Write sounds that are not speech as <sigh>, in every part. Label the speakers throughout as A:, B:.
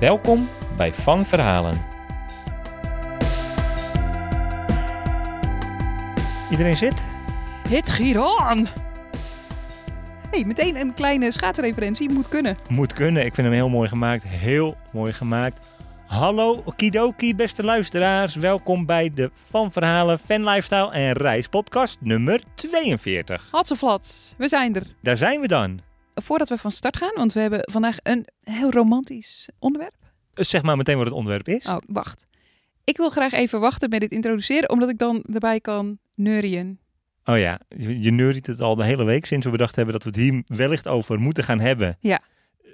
A: Welkom bij Van Verhalen. Iedereen zit?
B: Het Giron! hey, meteen een kleine schaatsreferentie moet kunnen.
A: Moet kunnen. Ik vind hem heel mooi gemaakt. Heel mooi gemaakt. Hallo Kidoki, beste luisteraars. Welkom bij de Van Verhalen, Fan Lifestyle en Reis podcast nummer 42.
B: Hatseflats, we zijn er.
A: Daar zijn we dan.
B: Voordat we van start gaan, want we hebben vandaag een heel romantisch onderwerp.
A: Eh, Zeg maar meteen wat het onderwerp is.
B: Oh, wacht. Ik wil graag even wachten met dit introduceren, omdat ik dan erbij kan neurien.
A: Oh ja, je je neuriet het al de hele week sinds we bedacht hebben dat we het hier wellicht over moeten gaan hebben.
B: Ja.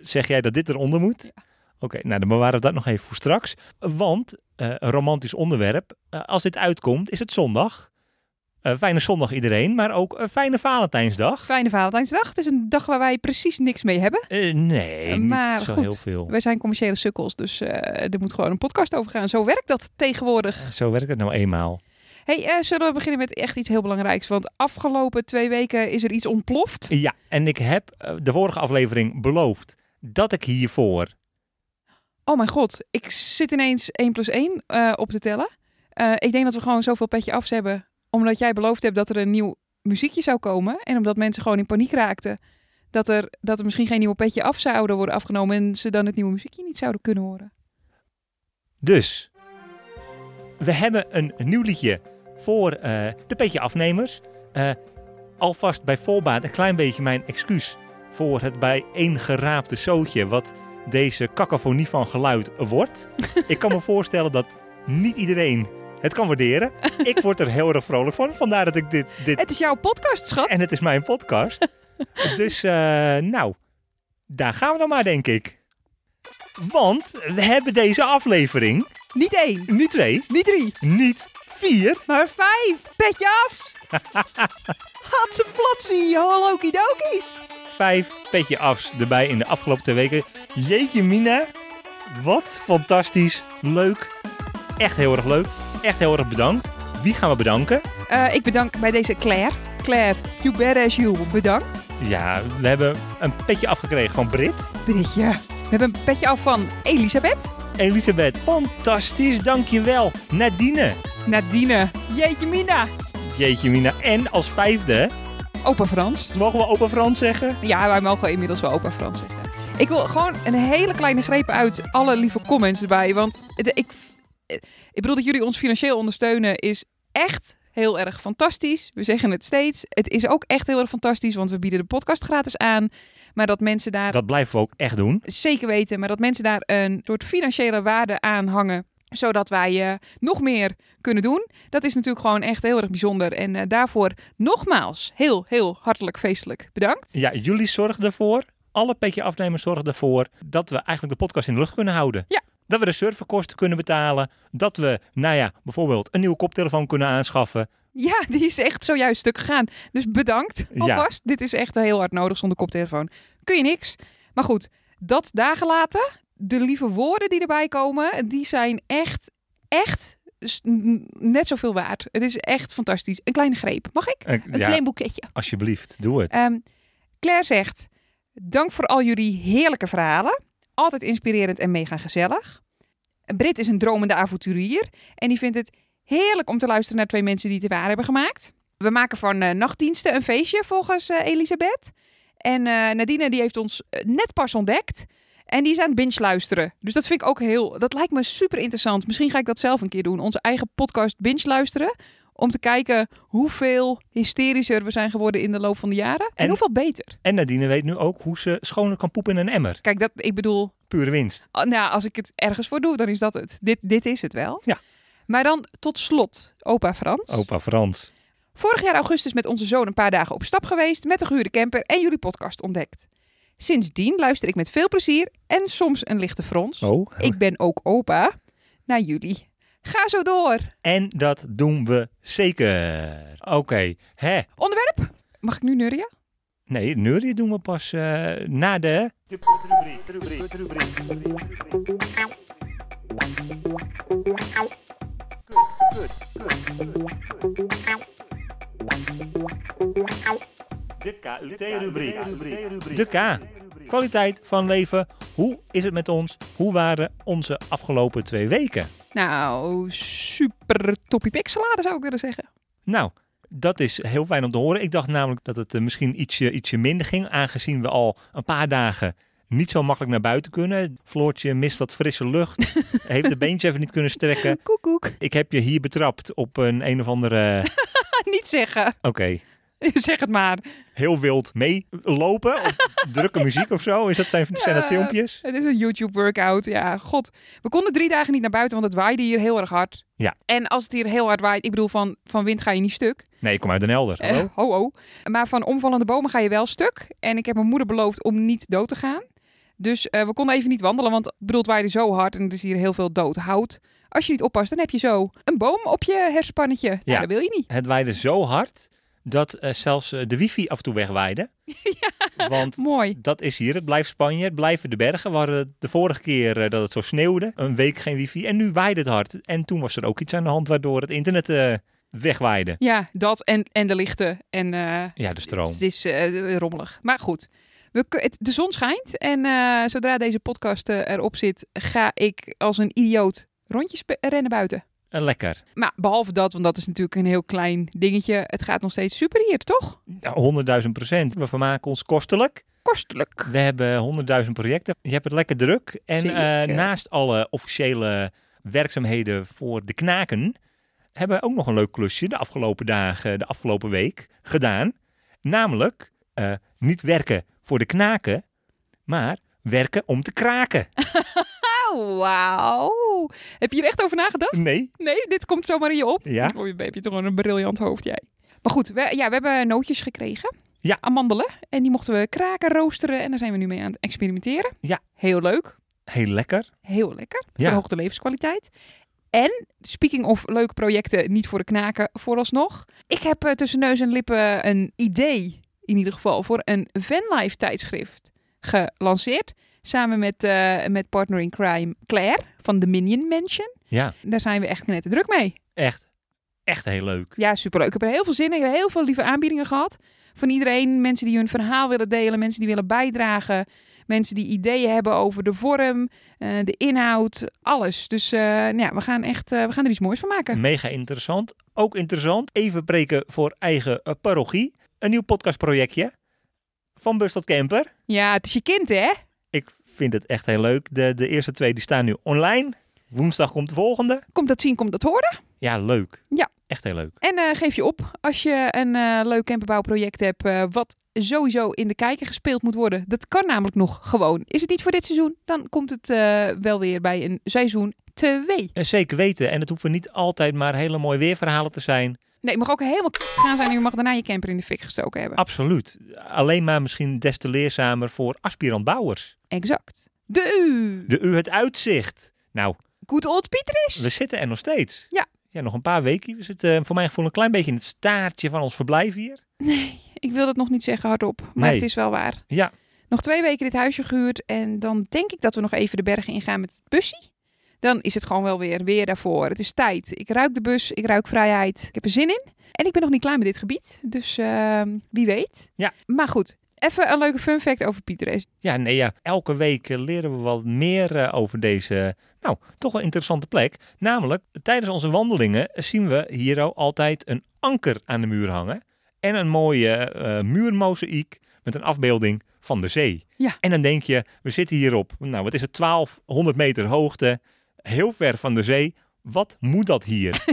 A: Zeg jij dat dit eronder moet?
B: Ja.
A: Oké, nou dan bewaren we dat nog even voor straks. Want, eh, een romantisch onderwerp, eh, als dit uitkomt is het zondag. Eh, fijne zondag iedereen, maar ook een fijne Valentijnsdag.
B: Fijne Valentijnsdag. Het is een dag waar wij precies niks mee hebben.
A: Eh, nee,
B: Eh, maar
A: niet zo
B: goed.
A: heel veel.
B: Wij zijn commerciële sukkels, dus eh, er moet gewoon een podcast over gaan. Zo werkt dat tegenwoordig.
A: Zo werkt het nou eenmaal.
B: hey, eh, zullen we beginnen met echt iets heel belangrijks? Want afgelopen twee weken is er iets ontploft.
A: Ja, en ik heb eh, de vorige aflevering beloofd dat ik hiervoor...
B: Oh mijn god, ik zit ineens 1 plus 1 eh, op te tellen. Eh, ik denk dat we gewoon zoveel petje afs hebben, omdat jij beloofd hebt dat er een nieuw muziekje zou komen. En omdat mensen gewoon in paniek raakten dat er, dat er misschien geen nieuwe petje af zouden worden afgenomen en ze dan het nieuwe muziekje niet zouden kunnen horen.
A: Dus, we hebben een nieuw liedje voor eh, de petje afnemers. Eh, alvast bij voorbaat een klein beetje mijn excuus voor het bijeengeraapte zootje wat deze cacophonie van geluid wordt. ik kan me voorstellen dat niet iedereen het kan waarderen. Ik word er heel erg vrolijk van, vandaar dat ik dit, dit
B: Het is jouw podcast, schat.
A: En het is mijn podcast. dus eh, nou, daar gaan we dan maar, denk ik. Want we hebben deze aflevering
B: Niet één,
A: niet twee,
B: niet drie,
A: niet vier.
B: maar vijf petje afs. Hatse flatsie, hallo kidokies.
A: Vijf petje afs erbij in de afgelopen twee weken. Jeetje mina, wat fantastisch, leuk. Echt heel erg leuk, echt heel erg bedankt. Wie gaan we bedanken?
B: Eh, ik bedank bij deze Claire. Claire, you badass you, bedankt.
A: Ja, we hebben een petje afgekregen van Brit.
B: Britje. We hebben een petje af van Elisabeth.
A: Elisabeth, fantastisch, dankjewel. Nadine,
B: Nadine. Jeetje Mina.
A: jeetje mina. En als vijfde...
B: Opa Frans.
A: Mogen we open Frans zeggen?
B: Ja, wij mogen inmiddels wel opa Frans zeggen. Ik wil gewoon een hele kleine greep uit alle lieve comments erbij. Want de- ik, ik bedoel dat jullie ons financieel ondersteunen is echt heel erg fantastisch. We zeggen het steeds. Het is ook echt heel erg fantastisch, want we bieden de podcast gratis aan. Maar dat mensen daar
A: Dat blijven we ook echt doen.
B: zeker weten, maar dat mensen daar een soort financiële waarde aan hangen zodat wij eh, nog meer kunnen doen. Dat is natuurlijk gewoon echt heel erg bijzonder. En eh, daarvoor nogmaals heel, heel hartelijk feestelijk bedankt.
A: Ja, jullie zorgen ervoor. Alle petje afnemers zorgen ervoor dat we eigenlijk de podcast in de lucht kunnen houden.
B: Ja.
A: Dat we de serverkosten kunnen betalen. Dat we, nou ja, bijvoorbeeld een nieuwe koptelefoon kunnen aanschaffen.
B: Ja, <laughs> die is echt zojuist stuk gegaan. Dus bedankt
A: Ja.
B: alvast. Dit is echt heel hard nodig zonder koptelefoon. Kun je niks. Maar goed, dat daar gelaten. De lieve woorden die erbij komen, die zijn echt, echt s- n- net zoveel waard. Het is echt fantastisch. Een kleine greep. Mag ik?
A: Eh,
B: Een
A: ja,
B: klein boeketje.
A: alsjeblieft, doe het.
B: Ehm, Claire zegt: Dank voor al jullie heerlijke verhalen. Altijd inspirerend en mega gezellig. Brit is een dromende avonturier en die vindt het heerlijk om te luisteren naar twee mensen die het waar hebben gemaakt. We maken van eh, nachtdiensten een feestje volgens eh, Elisabeth. En eh, Nadine die heeft ons eh, net pas ontdekt. En die is aan het binge luisteren. Dus dat vind ik ook heel. Dat lijkt me super interessant. Misschien ga ik dat zelf een keer doen. Onze eigen podcast binge luisteren. Om te kijken hoeveel hysterischer we zijn geworden in de loop van de jaren. En,
A: En-
B: hoeveel beter.
A: En Nadine weet nu ook hoe ze schoner kan poepen in een emmer.
B: Kijk, dat, ik bedoel.
A: Pure winst.
B: ah, Nou, als ik het ergens voor doe, dan is dat het. Dit, dit is het wel.
A: Ja.
B: Maar dan tot slot, opa Frans.
A: Opa Frans.
B: Vorig jaar augustus met onze zoon een paar dagen op stap geweest met een gehuurde camper en jullie podcast ontdekt. Sindsdien luister ik met veel plezier en soms een lichte frons.
A: Oh.
B: Ik ben ook opa naar jullie. Ga zo door.
A: En dat doen we zeker. Oké, hè?
B: Onderwerp? Mag ik nu nurren?
A: Nee, Nuri doen we pas eh, na de. De KUT-rubriek. De K. Kwaliteit van leven. Hoe is het met ons? Hoe waren onze afgelopen twee weken?
B: Nou, super toppie piksalade zou ik willen zeggen.
A: Nou, dat is heel fijn om te horen. Ik dacht namelijk dat het eh, misschien ietsje, ietsje minder ging, aangezien we al een paar dagen niet zo makkelijk naar buiten kunnen. Floortje mist wat frisse
B: <laughs>
A: lucht, heeft de beentje even niet kunnen strekken.
B: Koekoek. <laughs>
A: Ik heb je hier betrapt op een een of andere, eh,
B: Niet zeggen.
A: oké,
B: <laughs> zeg het maar.
A: heel wild meelopen
B: <laughs>
A: op drukke muziek of zo. Is dat zijn, zijn dat
B: Ja.
A: filmpjes?
B: Het is een YouTube-workout. Ja, god. We konden drie dagen niet naar buiten, want het waaide hier heel erg hard.
A: Ja.
B: En als het hier heel hard waait, ik bedoel, van, van wind ga je niet stuk.
A: Nee, ik kom uit Den Helder.
B: Eh,
A: Hallo?
B: ho, ho. Maar van omvallende bomen ga je wel stuk. En ik heb mijn moeder beloofd om niet dood te gaan. Dus eh, we konden even niet wandelen, want ik bedoel, het waaide zo hard en er is hier heel veel dood hout. Als je niet oppast, dan heb je zo een boom op je hersenpannetje. Ja.
A: Ja.
B: dat wil je niet.
A: Het waaide zo hard dat eh, zelfs eh, de wifi af en toe
B: <laughs>
A: wegwaaide. Want
B: Mooi.
A: Dat is hier. Het blijft Spanje. Het blijven de bergen. We hadden de vorige keer eh, dat het zo sneeuwde. Een week geen wifi. En nu waaide het hard. En toen was er ook iets aan de hand waardoor het internet eh, wegwaaide.
B: Ja, dat en, en de lichten. En eh,
A: Ja, de stroom.
B: Het is eh, rommelig. Maar goed, we, ku- het, de zon schijnt. En eh, zodra deze podcast eh, erop zit, ga ik als een idioot rondjes be- rennen buiten.
A: Eh, lekker.
B: Maar behalve dat, want dat is natuurlijk een heel klein dingetje. Het gaat nog steeds super hier, toch?
A: Nou, 100.000 procent. We vermaken ons kostelijk.
B: Kostelijk.
A: We hebben 100.000 projecten. Je hebt het lekker druk. En eh,
B: Zeker.
A: naast alle officiële werkzaamheden voor de knaken... hebben we ook nog een leuk klusje de afgelopen dagen, de afgelopen week gedaan. Namelijk eh, niet werken voor de knaken, maar werken om te kraken.
B: Oh, wauw. Heb je hier echt over nagedacht?
A: Nee?
B: Nee, dit komt zomaar in je op.
A: Ja?
B: Oh, je heb je toch gewoon een briljant hoofd, jij. Maar goed, we, ja, we hebben nootjes gekregen.
A: Ja.
B: Amandelen. En die mochten we kraken, roosteren. En daar zijn we nu mee aan het experimenteren.
A: Ja.
B: Heel leuk.
A: Heel lekker.
B: Heel lekker.
A: Ja.
B: Verhoogde levenskwaliteit. En, speaking of leuke projecten, niet voor de knaken vooralsnog. Ik heb eh, tussen neus en lippen een idee, in ieder geval, voor een vanlife tijdschrift gelanceerd. Samen met, eh, met partner in crime Claire van The Minion Mansion.
A: Ja,
B: Daar zijn we echt net druk mee.
A: echt. Echt heel leuk.
B: Ja, superleuk. Ik heb er heel veel zin in. Ik heb heel veel lieve aanbiedingen gehad. Van iedereen. Mensen die hun verhaal willen delen. Mensen die willen bijdragen. Mensen die ideeën hebben over de vorm, eh, de inhoud, alles. Dus eh, nou ja, we gaan, echt, eh, we gaan er iets moois van maken.
A: Mega interessant. Ook interessant. Even preken voor eigen eh, parochie. Een nieuw podcastprojectje. Van Bus tot Camper.
B: Ja, het is je kind, hè?
A: Ik vind het echt heel leuk. De, de eerste twee die staan nu online. Woensdag komt de volgende.
B: Komt dat zien, komt dat horen.
A: Ja, leuk.
B: Ja.
A: Echt heel leuk.
B: En eh, geef je op als je een eh, leuk camperbouwproject hebt... eh, wat sowieso in de kijker gespeeld moet worden. Dat kan namelijk nog gewoon. Is het niet voor dit seizoen, dan komt het eh, wel weer bij een seizoen 2.
A: En zeker weten. En het hoeven niet altijd maar hele mooie weerverhalen te zijn.
B: Nee, het mag ook helemaal k- gaan zijn en je mag daarna je camper in de fik gestoken hebben.
A: Absoluut. Alleen maar misschien des te leerzamer voor aspirant bouwers.
B: Exact. De U.
A: De U het uitzicht. Nou,
B: Good old Pietris.
A: we zitten er nog steeds.
B: Ja.
A: Ja, nog een paar weken. We zitten eh, voor mijn gevoel een klein beetje in het staartje van ons verblijf hier.
B: Ik wil dat nog niet zeggen hardop, maar
A: Nee.
B: het is wel waar.
A: Ja.
B: Nog twee weken dit huisje gehuurd en dan denk ik dat we nog even de bergen ingaan met het busje. Dan is het gewoon wel weer, weer daarvoor. Het is tijd. Ik ruik de bus, ik ruik vrijheid. Ik heb er zin in. En ik ben nog niet klaar met dit gebied, dus ehm, wie weet.
A: Ja.
B: Maar goed, even een leuke fun fact over Pietris.
A: Ja, nee, ja. Elke week eh, leren we wat meer eh, over deze, nou, toch wel interessante plek. Namelijk, tijdens onze wandelingen eh, zien we hier al altijd een anker aan de muur hangen. En een mooie eh muurmozaïek met een afbeelding van de zee.
B: Ja.
A: En dan denk je, we zitten hier op, nou, wat is het, 1200 meter hoogte. Heel ver van de zee. Wat moet dat hier?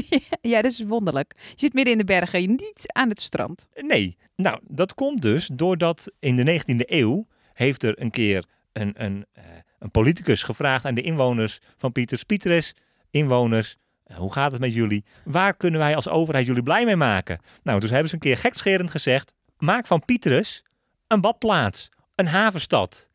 B: Ja, dat is wonderlijk. Je zit midden in de bergen, niet aan het strand.
A: nee. Nou, dat komt dus doordat in de 19e eeuw heeft er een keer een, een, eh, een politicus gevraagd aan de inwoners van Pieters Pietres. Inwoners, eh, hoe gaat het met jullie? Waar kunnen wij als overheid jullie blij mee maken? Nou, dus hebben ze een keer gekscherend gezegd, maak van Pietres een badplaats. Een havenstad.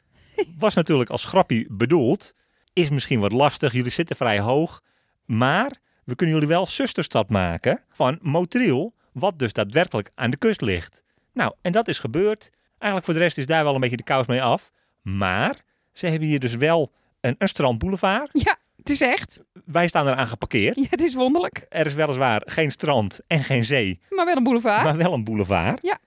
A: Was natuurlijk als grapje bedoeld. Is misschien wat lastig, jullie zitten vrij hoog. Maar we kunnen jullie wel zusterstad maken van Motril, wat dus daadwerkelijk aan de kust ligt. Nou, en dat is gebeurd. Eigenlijk voor de rest is daar wel een beetje de kous mee af. Maar ze hebben hier dus wel een, een strandboulevard.
B: Ja, het is echt.
A: Wij staan eraan geparkeerd.
B: Ja, het is wonderlijk.
A: Er is weliswaar geen strand en geen zee,
B: Maar wel een boulevard.
A: maar wel een boulevard.
B: Ah. Ja.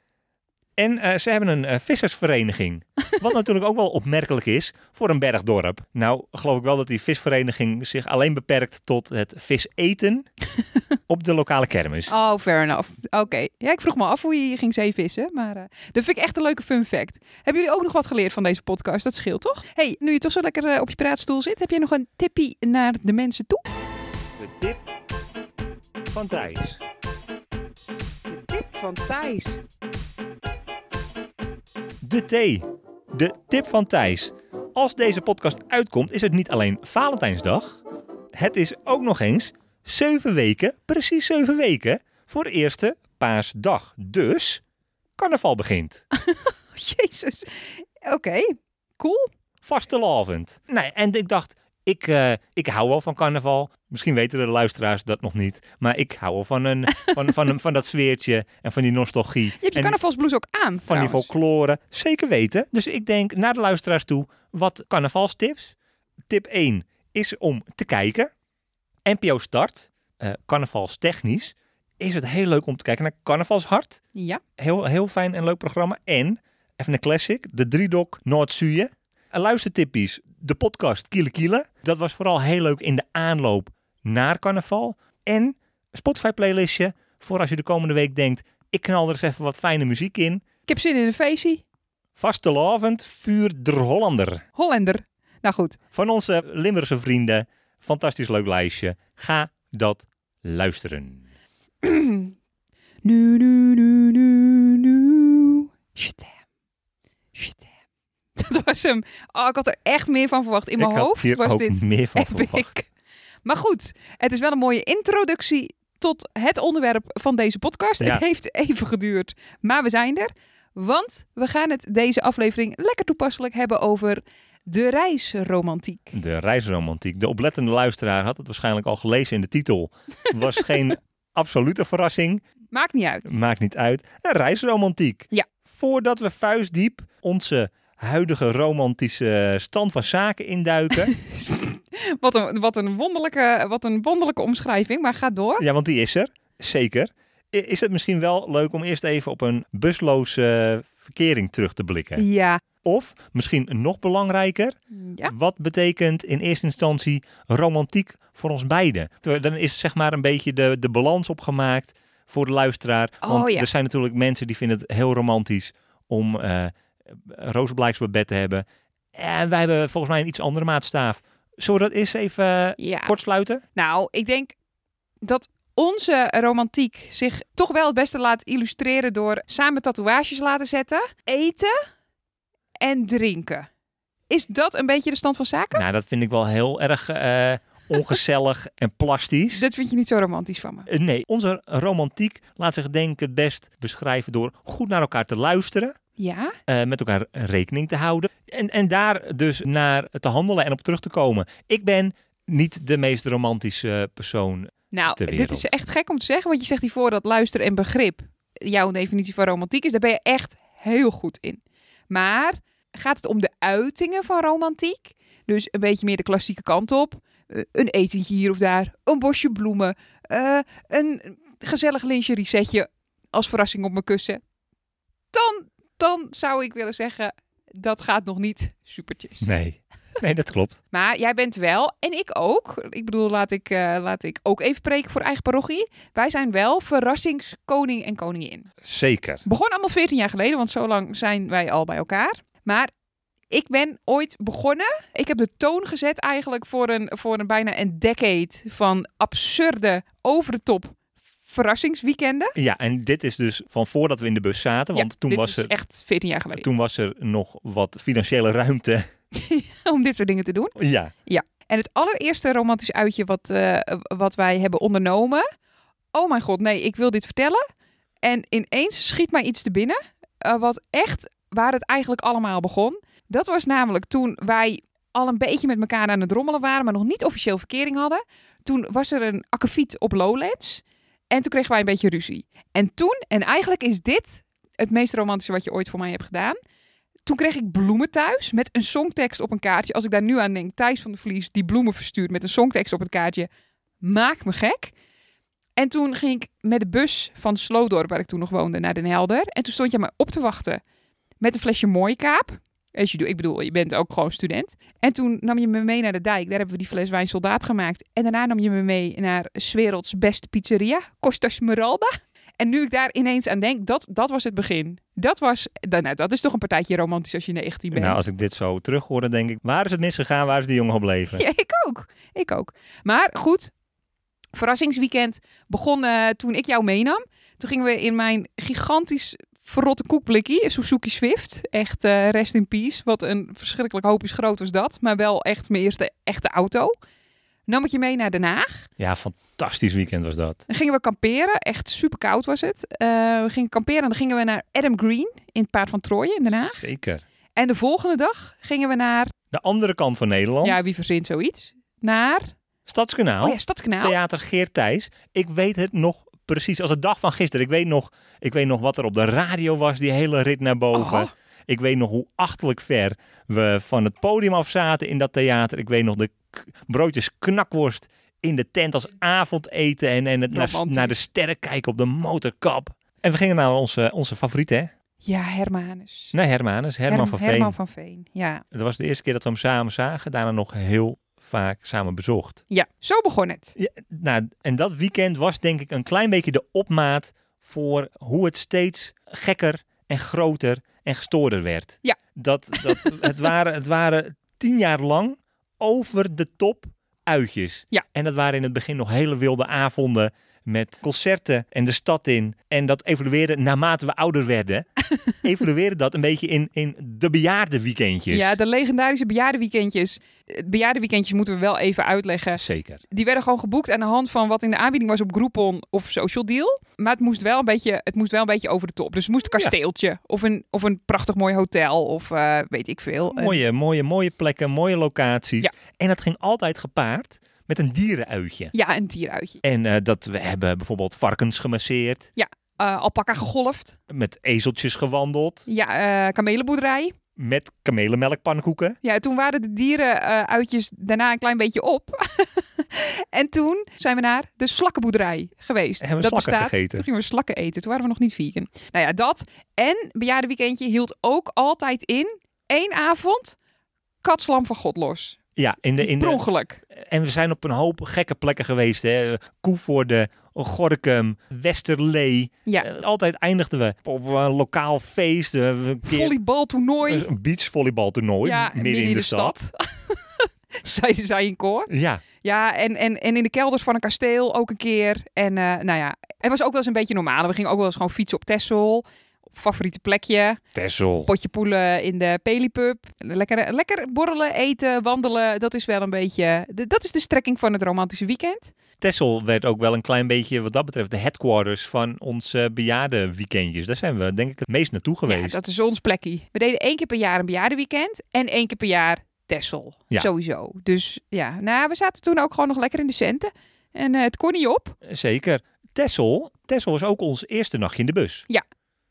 A: En eh, ze hebben een eh, vissersvereniging. Wat natuurlijk ook wel opmerkelijk is voor een bergdorp. Nou, geloof ik wel dat die visvereniging zich alleen beperkt tot het vis eten op de lokale kermis.
B: Oh, fair enough. Oké. Ja, ik vroeg me af hoe je hier ging zeevissen. Maar eh dat vind ik echt een leuke fun fact. Hebben jullie ook nog wat geleerd van deze podcast? Dat scheelt toch? hey, nu je toch zo lekker eh, op je praatstoel zit, heb jij nog een tippie naar de mensen toe?
A: De tip van Thijs.
B: De tip van Thijs.
A: De thee. De tip van Thijs. Als deze podcast uitkomt, is het niet alleen Valentijnsdag. Het is ook nog eens zeven weken, precies zeven weken, voor eerste paasdag. Dus, carnaval begint.
B: Oh, Jezus. Oké, cool.
A: Vastelavond. Nee, en ik dacht, ik, eh, ik hou wel van carnaval. Misschien weten de luisteraars dat nog niet. Maar ik hou wel van, een, van, van, van, van dat sfeertje en van die <laughs> nostalgie.
B: Je hebt je
A: En-
B: carnavalsblouse ook aan.
A: van die
B: trouwens.
A: folklore. Zeker weten. Dus ik denk naar de luisteraars toe, wat carnavalstips? Tip 1 is om te kijken. NPO Start, eh carnavalstechnisch, is het heel leuk om te kijken naar Carnavalshart.
B: Ja.
A: Heel, heel fijn en leuk programma. En, even een classic, de Driedok Noord-Zuye. Eh, Luistertippies, de podcast Kiele Kiele. Dat was vooral heel leuk in de aanloop naar carnaval. En Spotify-playlistje voor als je de komende week denkt... ik knal er eens even wat fijne muziek in.
B: Ik heb zin in een feestje.
A: Vastelavond vuur der Hollander.
B: Hollander. Nou goed,
A: Van onze Limburgse vrienden. Fantastisch leuk lijstje. Ga dat luisteren.
B: <clears throat> Nu, nu, nu, nu, nu. Shit, damn. Shit, damn. <laughs> Dat was hem. Oh, ik had er echt meer van verwacht. In mijn
A: Ik had
B: hoofd
A: hier
B: was
A: ook
B: dit
A: meer van
B: <laughs> epic.
A: verwacht.
B: Maar goed, het is wel een mooie introductie tot het onderwerp van deze podcast.
A: Ja.
B: Het heeft even geduurd, maar we zijn er. Want we gaan het deze aflevering lekker toepasselijk hebben over de reisromantiek.
A: De reisromantiek. De oplettende luisteraar had het waarschijnlijk al gelezen in de titel.
B: <laughs>
A: Was geen absolute verrassing.
B: Maakt niet uit.
A: Maakt niet uit. Een reisromantiek.
B: Ja.
A: Voordat we vuistdiep onze huidige romantische stand van zaken induiken.
B: Wat een, wat een, wonderlijke, wat een wonderlijke omschrijving, maar ga door.
A: Ja, want die is er. Zeker. I- Is het misschien wel leuk om eerst even op een busloze eh, verkering terug te blikken?
B: Ja.
A: Of misschien nog belangrijker,
B: ja.
A: wat betekent in eerste instantie romantiek voor ons beiden? Terwijl Dan is zeg maar een beetje de, de balans opgemaakt voor de luisteraar.
B: Oh,
A: want
B: ja.
A: er zijn natuurlijk mensen die vinden het heel romantisch om eh rozenblijksbed te hebben. En wij hebben volgens mij een iets andere maatstaaf. Zullen we dat eerst even eh,
B: Ja.
A: kort sluiten?
B: Nou, ik denk dat onze romantiek zich toch wel het beste laat illustreren door samen tatoeages laten zetten, eten en drinken. Is dat een beetje de stand van zaken?
A: Nou, dat vind ik wel heel erg eh, ongezellig <laughs> en plastisch.
B: Dat vind je niet zo romantisch van me.
A: Eh, Nee, onze romantiek laat zich denk ik het best beschrijven door goed naar elkaar te luisteren,
B: Ja?
A: eh, met elkaar rekening te houden en, en daar dus naar te handelen en op terug te komen. Ik ben niet de meest romantische persoon.
B: Nou,
A: De
B: dit
A: wereld.
B: is echt gek om te zeggen, want je zegt hiervoor dat luisteren en begrip jouw definitie van romantiek is. Daar ben je echt heel goed in. Maar gaat het om de uitingen van romantiek? Dus een beetje meer de klassieke kant op. Eh, Een etentje hier of daar, een bosje bloemen, eh, een gezellig lingerie setje als verrassing op mijn kussen. Dan, dan zou ik willen zeggen, dat gaat nog niet supertjes.
A: Nee, nee dat klopt.
B: Maar jij bent wel, en ik ook. Ik bedoel, laat ik, eh, laat ik ook even preken voor eigen parochie. Wij zijn wel verrassingskoning en koningin.
A: Zeker.
B: Begon allemaal 14 jaar geleden, want zo lang zijn wij al bij elkaar. Maar ik ben ooit begonnen. Ik heb de toon gezet eigenlijk voor een, voor een bijna een decade van absurde, over de top verrassingsweekenden.
A: Ja, en dit is dus van voordat we in de bus zaten, want
B: Ja,
A: toen,
B: dit
A: was
B: is
A: er,
B: echt 14 jaar geleden.
A: toen was er nog wat financiële ruimte. <laughs>
B: <laughs> Om dit soort dingen te doen.
A: Ja,
B: En het allereerste romantisch uitje wat, eh, wat wij hebben ondernomen. Oh mijn god, nee, ik wil dit vertellen. En ineens schiet mij iets te binnen. eh, wat echt waar het eigenlijk allemaal begon. Dat was namelijk toen wij al een beetje met elkaar aan het rommelen waren, maar nog niet officieel verkering hadden. Toen was er een akkefiet op Lowlands en toen kregen wij een beetje ruzie. En toen, en eigenlijk is dit het meest romantische wat je ooit voor mij hebt gedaan. Toen kreeg ik bloemen thuis met een songtekst op een kaartje. Als ik daar nu aan denk, Thijs van de Vlies die bloemen verstuurt met een songtekst op het kaartje. Maak me gek. En toen ging ik met de bus van Sloodorp, waar ik toen nog woonde, naar Den Helder. En toen stond je me op te wachten met een flesje mooikaap. Als je doet, ik bedoel, je bent ook gewoon student. En toen nam je me mee naar de dijk. Daar hebben we die fles wijn soldaat gemaakt. En daarna nam je me mee naar 's werelds beste pizzeria, Costa Smeralda. En nu ik daar ineens aan denk, dat, dat was het begin. Dat was, dan- nou, dat is toch een partijtje romantisch als je 19 bent.
A: Nou, als ik dit zo terughoor, dan denk ik, waar is het misgegaan? Waar is die jongen gebleven?
B: Ja, ik ook. Ik ook. Maar goed, verrassingsweekend begon eh, toen ik jou meenam. Toen gingen we in mijn gigantisch verrotte koekblikkie, een Suzuki Swift. Echt eh, rest in peace. Wat een verschrikkelijk hoop is groot was dat. Maar wel echt mijn eerste echte auto. Nam ik je mee naar Den Haag.
A: Ja, fantastisch weekend was dat.
B: Dan gingen we kamperen. Echt super koud was het. Eh, we gingen kamperen en dan gingen we naar Adam Green in het Paard van Troje in Den Haag.
A: Zeker.
B: En de volgende dag gingen we naar,
A: De andere kant van Nederland,
B: ja wie verzint zoiets, naar,
A: Stadskanaal.
B: oh ja, Stadskanaal.
A: Nou? Theater Geert Thijs. Ik weet het nog precies. Als de dag van gisteren. Ik weet nog, ik weet nog wat er op de radio was. Die hele rit naar boven.
B: Oh.
A: Ik weet nog hoe achtelijk ver we van het podium af zaten in dat theater. Ik weet nog de k- broodjes knakworst in de tent als avondeten. En, en het naar,
B: Romantisch.
A: naar de sterren kijken op de motorkap. En we gingen naar onze, onze favoriet, hè?
B: Ja, Hermanus.
A: Naar Hermanus, Herman
B: Herm-
A: van Veen.
B: Herman van Veen, ja.
A: Dat was de eerste keer dat we hem samen zagen. Daarna nog heel vaak samen bezocht.
B: Ja, zo begon het.
A: Ja, nou, en dat weekend was denk ik een klein beetje de opmaat voor hoe het steeds gekker en groter en gestoorder werd.
B: Ja.
A: Dat,
B: <laughs>
A: dat, het, waren, het waren tien jaar lang over de top uitjes.
B: Ja.
A: En dat waren in het begin nog hele wilde avonden met concerten en de stad in. En dat evolueerde naarmate we ouder
B: <laughs>
A: werden. evolueerde dat een beetje in, in de bejaarde weekendjes.
B: Ja, de legendarische bejaardenweekendjes. Eh, Bejaardenweekendjes moeten we wel even uitleggen.
A: Zeker.
B: Die werden gewoon geboekt aan de hand van wat in de aanbieding was op Groupon of Social Deal. Maar het moest wel een beetje, het moest wel een beetje over de top. Dus het moest een
A: Ja.
B: kasteeltje of, een, of een prachtig mooi hotel of eh, weet ik veel. Een-
A: Mooie, mooie, mooie plekken, mooie locaties.
B: Ja.
A: En dat ging altijd gepaard met een dierenuitje.
B: ja, een dieruitje.
A: En eh, dat we hebben bijvoorbeeld varkens gemasseerd,
B: Eh alpaca gegolfd.
A: met ezeltjes gewandeld,
B: Ja, eh, kamelenboerderij.
A: met kamelenmelkpannenkoeken.
B: Ja, toen waren de dierenuitjes daarna een klein beetje op. <laughs> en toen zijn we naar de slakkenboerderij geweest.
A: En hebben we
B: dat
A: slakken
B: bestaat.
A: gegeten.
B: Toen gingen we slakken eten. Toen waren we nog niet vegan. Nou ja, dat. En bejaardenweekendje hield ook altijd in één avond katslam van God los.
A: Ja, in de, in
B: Per
A: de,
B: ongeluk.
A: en we zijn op een hoop gekke plekken geweest. Hè. Koevoorde, Gorkum, Westerlee.
B: Ja.
A: Eh, altijd eindigden we op een lokaal feest. eh, een keer-
B: Volleybaltoernooi.
A: Een beachvolleybaltoernooi
B: ja,
A: Eh, midden, in de, stad.
B: <laughs> Zij zij in koor.
A: Ja,
B: Ja, en, en, en in de kelders van een kasteel ook een keer. En eh, nou ja, het was ook wel eens een beetje normaal. We gingen ook wel eens gewoon fietsen op Texel. Op favoriete plekje.
A: Texel.
B: Potje poelen in de Pelipub. Lekker, eh, lekker borrelen, eten, wandelen. Dat is wel een beetje... de- dat is de strekking van het romantische weekend.
A: Tessel werd ook wel een klein beetje, wat dat betreft, de headquarters van onze bejaarde weekendjes. Daar zijn we denk ik het meest naartoe geweest.
B: Ja, dat is ons plekje. We deden één keer per jaar een bejaardenweekend. En één keer per jaar Texel.
A: Ja.
B: Sowieso. Dus ja, nou, we zaten toen ook gewoon nog lekker in de centen. En eh, het kon niet op.
A: Zeker. Tessel, Tessel was ook ons eerste nachtje in de bus.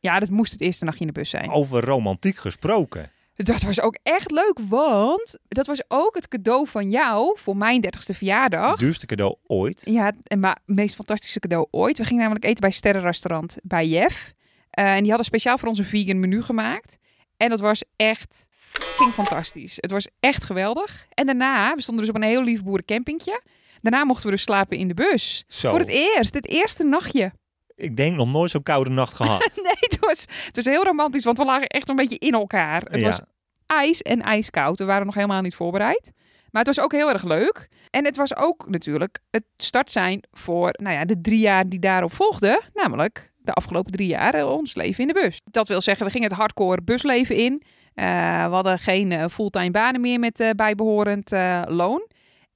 B: Ja, dat moest het eerste nachtje in de bus zijn.
A: Over romantiek gesproken.
B: Dat was ook echt leuk, want dat was ook het cadeau van jou voor mijn 30ste verjaardag.
A: Het duurste cadeau ooit.
B: Ja, en maar het meest fantastische cadeau ooit. We gingen namelijk eten bij Sterrenrestaurant bij Jeff. Eh, en die hadden speciaal voor ons een vegan menu gemaakt. En dat was echt fucking fantastisch. Het was echt geweldig. En daarna, we stonden dus op een heel lief boerencampingtje. Daarna mochten we dus slapen in de bus.
A: Zo.
B: Voor het e- eerst, het eerste nachtje.
A: Ik denk nog nooit zo'n koude nacht
B: <laughs>
A: gehad.
B: Nee, het was, het was heel romantisch, want we lagen echt een beetje in elkaar. Het
A: ja.
B: was ijs en ijskoud. We waren nog helemaal niet voorbereid. Maar het was ook heel erg leuk. En het was ook natuurlijk het start zijn voor nou ja, de drie jaar die daarop volgden. Namelijk de afgelopen drie jaar eh, ons leven in de bus. Dat wil zeggen, we gingen het hardcore busleven in. Eh, we hadden geen eh, fulltime banen meer met eh, bijbehorend eh, loon.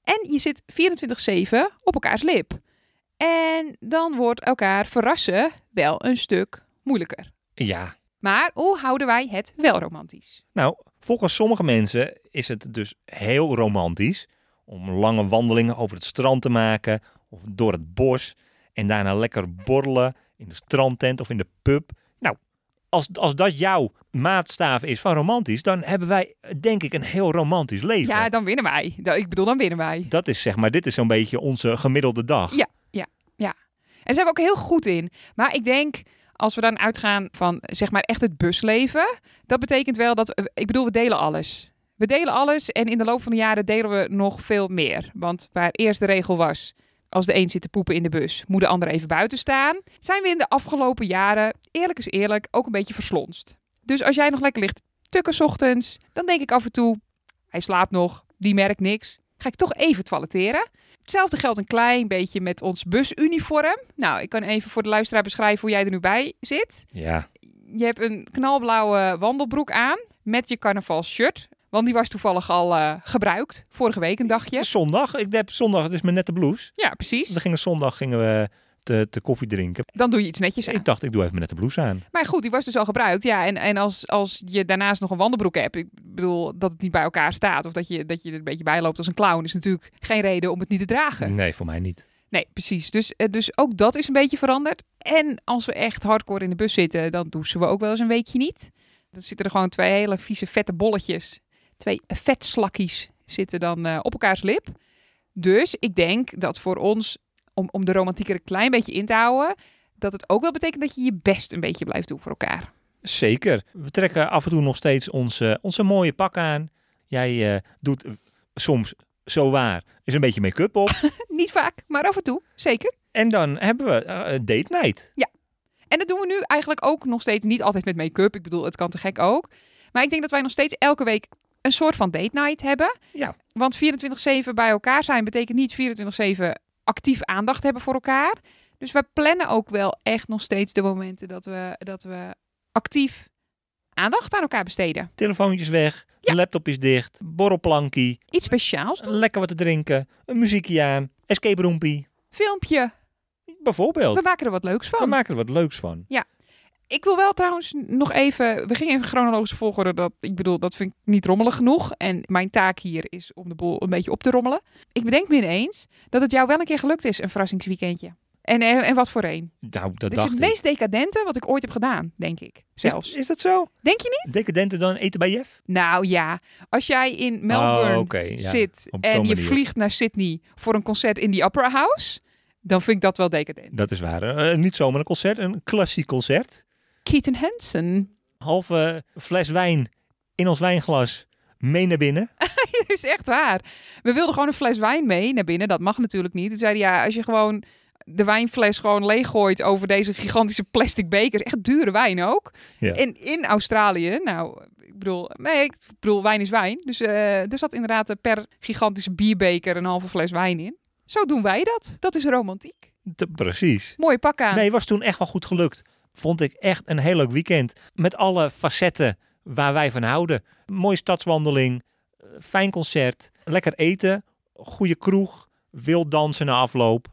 B: En je zit 24-7 op elkaars lip. En dan wordt elkaar verrassen wel een stuk moeilijker.
A: ja.
B: Maar hoe houden wij het wel romantisch?
A: Nou, volgens sommige mensen is het dus heel romantisch om lange wandelingen over het strand te maken of door het bos en daarna lekker borrelen in de strandtent of in de pub. Nou, als, als dat jouw maatstaaf is van romantisch, dan hebben wij eh, denk ik een heel romantisch leven.
B: Ja, dan winnen wij. Da- Ik bedoel, dan winnen wij.
A: Dat is zeg maar, dit is zo'n beetje onze gemiddelde dag.
B: Ja. En zijn we ook heel goed in. Maar ik denk, als we dan uitgaan van zeg maar echt het busleven, dat betekent wel dat, ik bedoel, we delen alles. We delen alles en in de loop van de jaren delen we nog veel meer. Want waar eerst de regel was, als de een zit te poepen in de bus, moet de ander even buiten staan, zijn we in de afgelopen jaren, eerlijk is eerlijk, ook een beetje verslonst. Dus als jij nog lekker ligt tukken 's ochtends, dan denk ik af en toe, hij slaapt nog, die merkt niks. Ga ik toch even toiletteren? Hetzelfde geldt een klein beetje met ons busuniform. Nou, ik kan even voor de luisteraar beschrijven hoe jij er nu bij zit.
A: Ja.
B: Je hebt een knalblauwe wandelbroek aan met je carnavalsshirt. Want die was toevallig al eh, gebruikt, vorige week een
A: Dus-
B: dagje.
A: Zondag, ik heb zondag, het is mijn nette blouse.
B: Ja,
A: We
B: precies.
A: gingen zondag gingen we te, te koffie drinken.
B: Dan doe je iets netjes aan.
A: Ik dacht, ik doe even mijn nette blouse aan.
B: Maar goed, die was dus al gebruikt. Ja, en, en als, als je daarnaast nog een wandelbroek hebt, ik bedoel dat het niet bij elkaar staat of dat je, dat je er een beetje bij loopt als een clown, is natuurlijk geen reden om het niet te dragen.
A: Nee, voor mij niet.
B: Nee, precies. Dus, eh, dus ook dat is een beetje veranderd. En als we echt hardcore in de bus zitten, dan douchen we ook wel eens een weekje niet. Dan zitten er gewoon twee hele vieze vette bolletjes. Twee vetslakkies zitten dan eh, op elkaars lip. Dus ik denk dat voor ons, om, om de romantiek er een klein beetje in te houden, dat het ook wel betekent dat je je best een beetje blijft doen voor elkaar. <laughs>
A: Zeker. We trekken af en toe nog steeds onze, onze mooie pak aan. Jij eh, doet eh, soms zo waar. Is een beetje make-up
B: <laughs>
A: op.
B: Niet vaak, maar af en toe, zeker.
A: en dan hebben we eh, date night.
B: En dat doen we nu eigenlijk ook nog steeds niet altijd met make-up. Ik bedoel, het kan te gek ook. Maar ik denk dat wij nog steeds elke week een soort van date night hebben.
A: Ja.
B: Want 24-7 bij elkaar zijn betekent niet 24-7 actief aandacht hebben voor elkaar. Dus wij plannen ook wel echt nog steeds de momenten dat we, dat we actief aandacht aan elkaar besteden.
A: Telefoontjes weg.
B: Ja.
A: Laptop is dicht. Borrelplankie.
B: Iets speciaals. doen.
A: Lekker wat te drinken. Een muziekje aan. Escape roompie.
B: Filmpje. We
A: Bijvoorbeeld.
B: maken er wat leuks
A: We
B: van.
A: maken er wat leuks van.
B: Ik wil wel trouwens nog even. We gingen in chronologische volgorde. Dat, ik bedoel, dat vind ik niet rommelig genoeg. En mijn taak hier is om de boel een beetje op te rommelen. Ik bedenk me ineens dat het jou wel een keer gelukt is, een verrassingsweekendje. En, en, en wat voor een.
A: Nou, dat
B: Dit is
A: dacht
B: het
A: ik.
B: meest decadente wat ik ooit heb gedaan, denk ik. Zelfs.
A: Is, is dat zo?
B: Denk je
A: Decadenter dan eten bij Jeff?
B: niet? Nou ja, als jij in Melbourne
A: Oh, oké, ja.
B: zit
A: Op zo'n
B: en je
A: manier.
B: vliegt naar Sydney voor een concert in die Opera House, dan vind ik dat wel decadent.
A: Dat is waar. Eh, niet zomaar een concert. Een klassiek concert.
B: Keaton Hansen.
A: halve fles wijn in ons wijnglas mee naar binnen.
B: Dat <laughs> is echt waar. We wilden gewoon een fles wijn mee naar binnen. Dat mag natuurlijk niet. Toen zeiden ja, als je gewoon de wijnfles gewoon leeggooit over deze gigantische plastic bekers. Echt dure wijn ook.
A: Ja.
B: En in Australië, nou, ik bedoel, nee, ik bedoel, wijn is wijn. Dus eh, er zat inderdaad eh, per gigantische bierbeker een halve fles wijn in. Zo doen wij dat. Dat is romantiek.
A: Te- precies.
B: Mooie pak aan.
A: Nee, was toen echt wel goed gelukt. Vond ik echt een heel leuk weekend. Met alle facetten waar wij van houden. Mooie stadswandeling, eh, fijn concert, lekker eten, goede kroeg, wild dansen na afloop.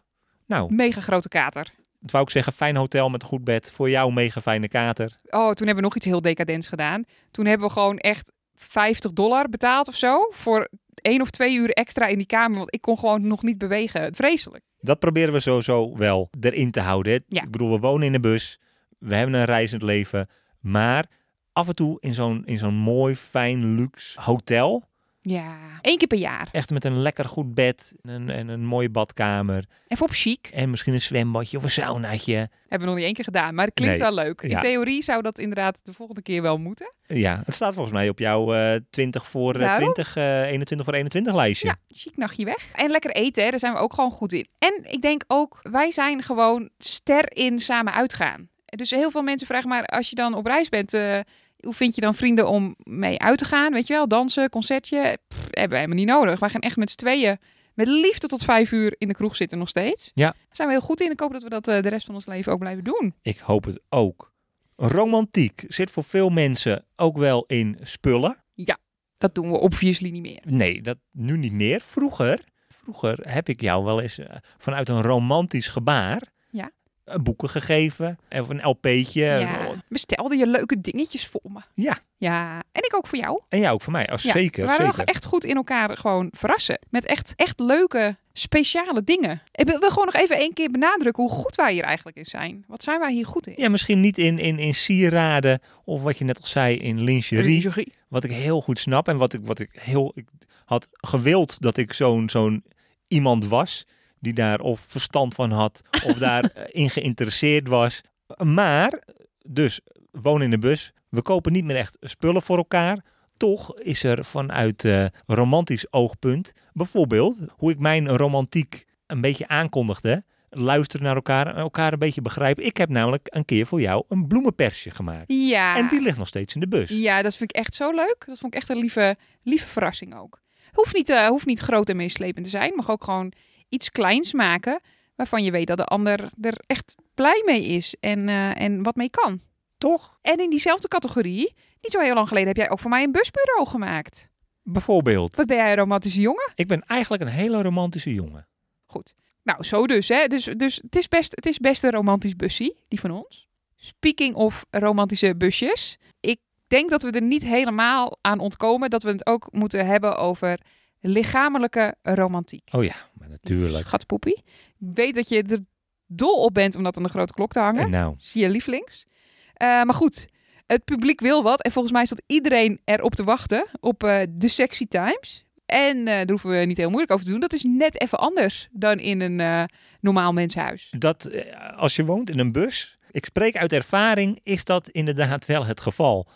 A: Nou,
B: Mega grote kater.
A: dat wou ik zeggen, fijn hotel met een goed bed. Voor jou mega fijne kater.
B: Oh, toen hebben we nog iets heel decadents gedaan. Toen hebben we gewoon echt 50 dollar betaald of zo. Voor één of twee uur extra in die kamer. Want ik kon gewoon nog niet bewegen. Vreselijk.
A: Dat proberen we sowieso wel erin te houden. hè.
B: Ja.
A: Ik bedoel, we wonen in de bus. We hebben een reizend leven. Maar af en toe in zo'n, in zo'n mooi, fijn, luxe hotel.
B: Ja. Eén keer per jaar.
A: Echt met een lekker goed bed en een, en een mooie badkamer.
B: Even op chic.
A: En misschien een zwembadje of een saunaatje.
B: Hebben we nog niet één keer gedaan. Maar het klinkt
A: Nee.
B: wel leuk. In
A: Ja.
B: theorie zou dat inderdaad de volgende keer wel moeten.
A: Ja, het staat volgens mij op jouw eh 20 voor eh,
B: Daarom?
A: 20, eh, 21 voor 21 lijstje.
B: Ja, chic nachtje weg. En lekker eten, hè, daar zijn we ook gewoon goed in. En ik denk ook, wij zijn gewoon ster in samen uitgaan. Dus heel veel mensen vragen maar, als je dan op reis bent, eh, hoe vind je dan vrienden om mee uit te gaan? Weet je wel, dansen, concertje, Pff, hebben we helemaal niet nodig. Wij gaan echt met z'n tweeën met liefde tot vijf uur in de kroeg zitten nog steeds.
A: Ja.
B: Daar zijn we heel goed in. Ik hoop dat we dat eh, de rest van ons leven ook blijven doen.
A: Ik hoop het ook. Romantiek zit voor veel mensen ook wel in spullen.
B: Dat doen we obviously niet meer.
A: Nee, dat nu niet meer. Vroeger, vroeger heb ik jou wel eens eh, vanuit een romantisch gebaar
B: Ja.
A: eh, boeken gegeven. Of een LP'tje.
B: ja. Bestelde je leuke dingetjes voor me.
A: Ja.
B: Ja, en ik ook voor jou.
A: En ja, ook voor mij. Oh,
B: Ja,
A: zeker,
B: we waren wel
A: zeker.
B: echt goed in elkaar gewoon verrassen. Met echt, echt leuke, speciale dingen. Ik wil wil gewoon nog even één keer benadrukken hoe goed wij hier eigenlijk in zijn. Wat zijn wij hier goed in?
A: Ja, misschien niet in, in, in sieraden of wat je net al zei in lingerie. Wat ik heel goed snap en wat ik, wat ik heel ik had gewild dat ik zo'n zo'n iemand was. Die daar of verstand van had
B: <laughs>
A: of daarin geïnteresseerd was. Maar, dus woon in de bus. We kopen niet meer echt spullen voor elkaar. Toch is er vanuit eh, romantisch oogpunt, bijvoorbeeld hoe ik mijn romantiek een beetje aankondigde. Luisteren naar elkaar en elkaar een beetje begrijpen. Ik heb namelijk een keer voor jou een bloemenpersje gemaakt.
B: Ja.
A: En die ligt nog steeds in de bus.
B: ja, dat vind ik echt zo leuk. Dat vond ik echt een lieve, lieve verrassing ook. Hoeft niet, eh, hoeft niet groot en meeslepend te zijn. Mag ook gewoon iets kleins maken waarvan je weet dat de ander er echt blij mee is en, eh, en wat mee kan.
A: Toch?
B: En in diezelfde categorie, niet zo heel lang geleden, heb jij ook voor mij een busbureau gemaakt.
A: Bijvoorbeeld.
B: Wat ben jij een romantische jongen?
A: Ik ben eigenlijk een hele romantische jongen.
B: Goed. Nou, zo dus. Hè? Dus, dus het, is best, het is best een romantisch bussie, die van ons. Speaking of romantische busjes. Ik denk dat we er niet helemaal aan ontkomen dat we het ook moeten hebben over lichamelijke romantiek.
A: Oh ja, maar natuurlijk.
B: Schatpoepie. Ik weet dat je er dol op bent om dat aan de grote klok te hangen.
A: En nou,
B: Zie je lievelings. Eh, maar goed, het publiek wil wat. En volgens mij staat iedereen erop te wachten op eh, de sexy times. En eh, daar hoeven we niet heel moeilijk over te doen. Dat is net even anders dan in een eh, normaal mensenhuis.
A: dat, eh, als je woont in een bus, ik spreek uit ervaring, is dat inderdaad wel het geval.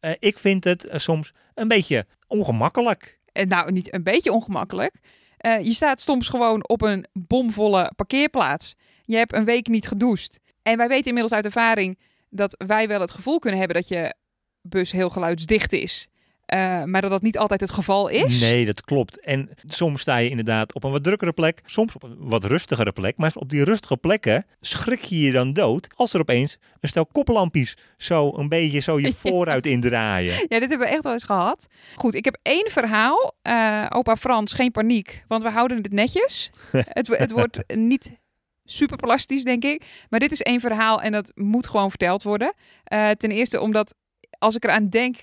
A: Eh, ik vind het eh, soms een beetje ongemakkelijk.
B: En nou, niet een beetje ongemakkelijk. Eh, je staat soms gewoon op een bomvolle parkeerplaats. Je hebt een week niet gedoucht. En wij weten inmiddels uit ervaring dat wij wel het gevoel kunnen hebben dat je bus heel geluidsdicht is. Eh, maar dat dat niet altijd het geval is.
A: Nee, dat klopt. En soms sta je inderdaad op een wat drukkere plek, soms op een wat rustigere plek. Maar op die rustige plekken schrik je je dan dood als er opeens een stel koplampjes zo een beetje zo je vooruit indraaien.
B: Ja, dit hebben we echt wel eens gehad. Goed, ik heb één verhaal. Eh, opa Frans, geen paniek, want we houden het netjes. het, wo- het wordt niet super plastisch, denk ik. Maar dit is één verhaal en dat moet gewoon verteld worden. Eh, ten eerste omdat, als ik eraan denk,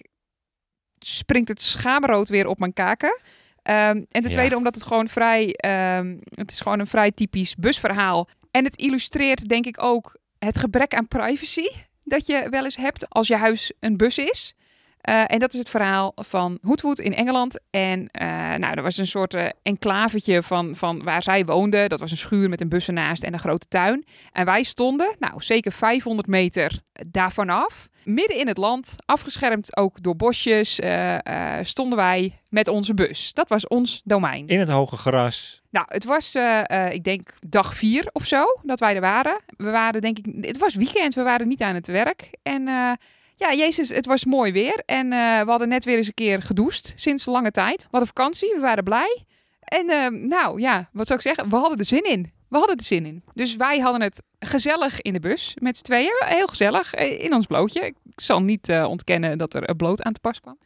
B: springt het schaamrood weer op mijn kaken. Ehm, en ten
A: Ja.
B: tweede omdat het gewoon vrij, ehm, het is gewoon een vrij typisch busverhaal. En het illustreert denk ik ook het gebrek aan privacy dat je wel eens hebt als je huis een bus is. Eh, en dat is het verhaal van Hoedwood in Engeland. En eh, nou, er was een soort eh, enclavetje van, van waar zij woonden. Dat was een schuur met een bus ernaast en een grote tuin. En wij stonden, nou zeker 500 meter daarvan af, midden in het land, afgeschermd ook door bosjes, eh, eh, stonden wij met onze bus. Dat was ons domein.
A: In het hoge gras.
B: Nou, het was, eh, eh, ik denk, dag vier of zo dat wij er waren. We waren, denk ik, het was weekend, we waren niet aan het werk. En eh, ja, Jezus, het was mooi weer. En eh, we hadden net weer eens een keer gedoucht sinds lange tijd. We hadden vakantie, we waren blij. En eh, nou ja, wat zou ik zeggen? We hadden er zin in. We hadden er zin in. Dus wij hadden het gezellig in de bus met z'n tweeën. Heel gezellig, eh, in ons blootje. Ik zal niet eh, ontkennen dat er eh, bloot aan te pas kwam.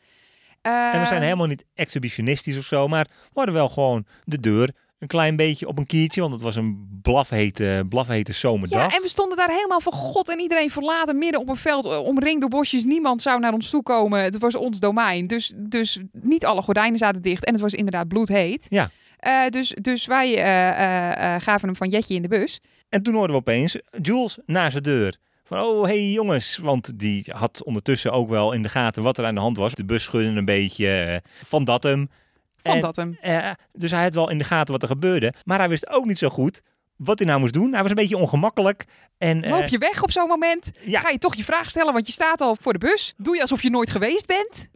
A: En we zijn
B: Ehm,
A: helemaal niet exhibitionistisch of zo, maar we hadden wel gewoon de deur een klein beetje op een kiertje, want het was een blafhete, blafhete zomerdag.
B: Ja, en we stonden daar helemaal van god en iedereen verlaten midden op een veld, eh, omringd door bosjes. Niemand zou naar ons toe komen. Het was ons domein. Dus, dus niet alle gordijnen zaten dicht en het was inderdaad bloedheet.
A: Ja.
B: Eh, dus, dus wij eh, eh, eh, gaven hem van Jetje in de bus.
A: En toen hoorden we opeens Jules naar zijn deur. Van, oh, hey jongens. Want die had ondertussen ook wel in de gaten wat er aan de hand was. De bus schudde een beetje eh, van dat hem.
B: Van
A: En-
B: dat hem.
A: Eh, dus hij had wel in de gaten wat er gebeurde. Maar hij wist ook niet zo goed wat hij nou moest doen. Hij was een beetje ongemakkelijk. En, eh,
B: Loop je weg op zo'n moment?
A: Ja.
B: Ga je toch je vraag stellen, want je staat al voor de bus. Doe je alsof je nooit geweest bent?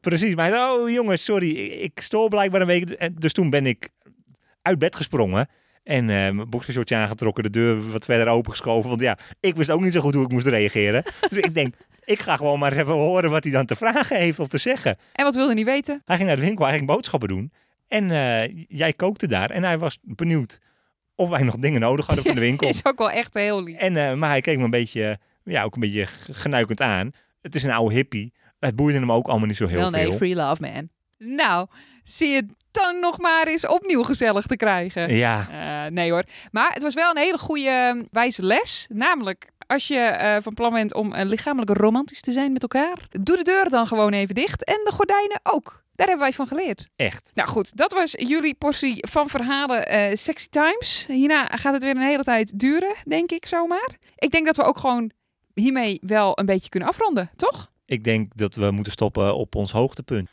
A: Precies, maar hij zei, oh jongens, sorry, ik, ik stoor blijkbaar een week. En Dus toen ben ik uit bed gesprongen en eh mijn boxershortje aangetrokken, de deur wat verder opengeschoven. Want ja, ik wist ook niet zo goed hoe ik moest reageren. dus ik denk, ik ga gewoon maar eens even horen wat hij dan te vragen heeft of te zeggen.
B: En wat wilde niet weten?
A: Hij ging naar de winkel, hij ging boodschappen doen. En eh, jij kookte daar en hij was benieuwd of wij nog dingen nodig hadden van de winkel.
B: Is ook wel echt heel lief.
A: En, eh, maar hij keek me een beetje, eh, ja, ook een beetje g- genuikend aan. Het is een oude hippie. Het boeide hem ook allemaal niet zo heel
B: Wel
A: veel.
B: nee, free love man. Nou, zie je dan nog maar eens opnieuw gezellig te krijgen.
A: Ja,
B: Eh, nee hoor. Maar het was wel een hele goede eh, wijze les. Namelijk, als je eh, van plan bent om eh, lichamelijk romantisch te zijn met elkaar, doe de deur dan gewoon even dicht en de gordijnen ook. Daar hebben wij van geleerd.
A: echt.
B: Nou goed, dat was jullie portie van verhalen eh, Sexy Times. Hierna gaat het weer een hele tijd duren, denk ik zomaar. Ik denk dat we ook gewoon hiermee wel een beetje kunnen afronden, toch?
A: Ik denk dat we moeten stoppen op ons hoogtepunt.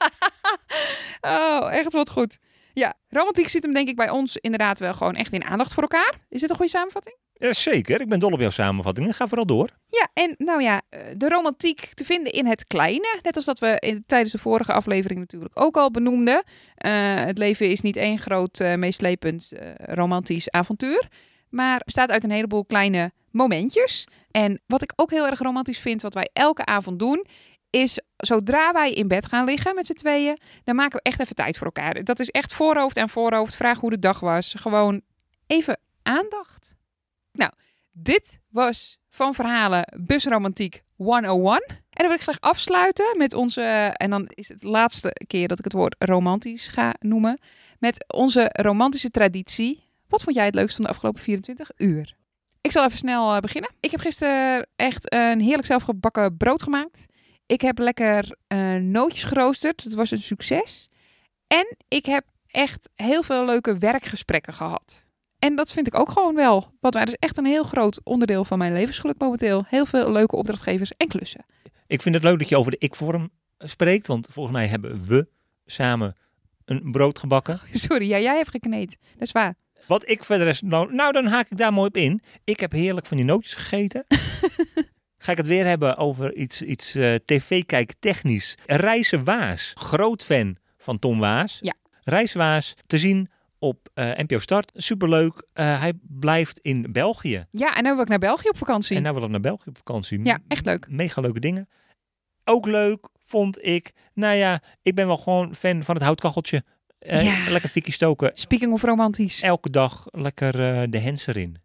B: Oh, echt wat goed. Ja, romantiek zit hem denk ik bij ons inderdaad wel gewoon echt in aandacht voor elkaar. Is dit een goede samenvatting?
A: Ja, zeker, ik ben dol op jouw samenvattingen. Ga vooral door.
B: Ja, en nou ja, eh, de romantiek te vinden in het kleine. Net als dat we in, tijdens de vorige aflevering natuurlijk ook al benoemden. Eh, het leven is niet één groot, eh, meeslepend eh, romantisch avontuur. Maar bestaat uit een heleboel kleine momentjes. En wat ik ook heel erg romantisch vind, wat wij elke avond doen, is zodra wij in bed gaan liggen met z'n tweeën, dan maken we echt even tijd voor elkaar. Dat is echt voorhoofd en voorhoofd. Vraag hoe de dag was. Gewoon even aandacht. Nou, dit was van verhalen Busromantiek 101. En dan wil ik graag afsluiten met onze, en dan is het de laatste keer dat ik het woord romantisch ga noemen, met onze romantische traditie. Wat vond jij het leukst van de afgelopen 24 uur? Ik zal even snel eh, beginnen. Ik heb gisteren echt een heerlijk zelfgebakken brood gemaakt. Ik heb lekker eh, nootjes geroosterd. Het was een succes. En ik heb echt heel veel leuke werkgesprekken gehad. En dat vind ik ook gewoon wel. Want wij is echt een heel groot onderdeel van mijn levensgeluk momenteel. Heel veel leuke opdrachtgevers en klussen. <laughs>
A: Ik vind het leuk dat je over de ik-vorm spreekt, want volgens mij hebben we samen een brood gebakken.
B: Sorry, ja, jij hebt gekneed. Dat is waar.
A: Wat ik verder is, nou, nou dan haak ik daar mooi op in. Ik heb heerlijk van die nootjes gegeten. Ga ik het weer hebben over iets, iets eh tv-kijktechnisch. Reizen Waas, groot fan van Tom Waas.
B: Ja.
A: Reis Waas, te zien op eh, NPO Start. Superleuk. Eh, hij blijft in België.
B: Ja, en nu wil ik naar België op vakantie.
A: En nou wil ik naar België op vakantie.
B: Ja, echt leuk.
A: Mega leuke dingen. Ook leuk vond ik, nou ja, ik ben wel gewoon fan van het houtkacheltje. Eh,
B: Ja.
A: Lekker fikkie stoken.
B: Speaking of romantisch.
A: Elke dag lekker eh, de hens erin.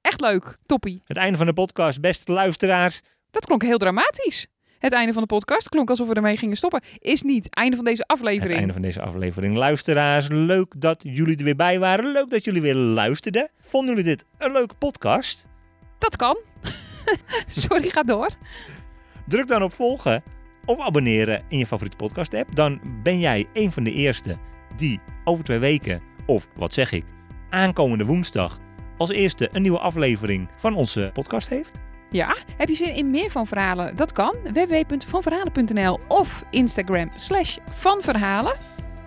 B: Echt leuk. Toppie.
A: Het einde van de podcast, beste luisteraars.
B: Dat klonk heel dramatisch. Het einde van de podcast klonk alsof we ermee gingen stoppen. Is niet. Einde van deze
A: Het
B: aflevering.
A: einde van deze aflevering. Luisteraars, leuk dat jullie er weer bij waren. Leuk dat jullie weer luisterden. Vonden jullie dit een leuke podcast?
B: Dat kan. <laughs> Sorry, ga door.
A: Druk dan op volgen of abonneren in je favoriete podcast app. Dan ben jij een van de eerste die over twee weken, of wat zeg ik, aankomende woensdag als eerste een nieuwe aflevering van onze podcast heeft.
B: Ja, heb je zin in meer van verhalen? Dat kan. www.vanverhalen.nl of Instagram slash vanverhalen.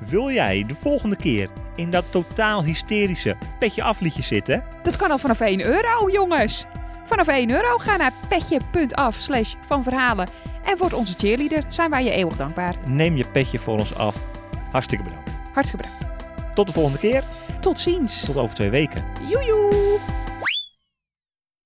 A: Wil jij de volgende keer in dat totaal hysterische petje afliedje zitten?
B: Dat kan al vanaf 1 euro, jongens. Vanaf 1 euro ga naar petje.af slash van verhalen en word onze cheerleader. Zijn wij je eeuwig dankbaar.
A: Neem je petje voor ons af. Hartstikke bedankt.
B: Hartstikke bedankt.
A: Tot de volgende keer.
B: Tot ziens.
A: Tot over twee weken.
B: Joejoe.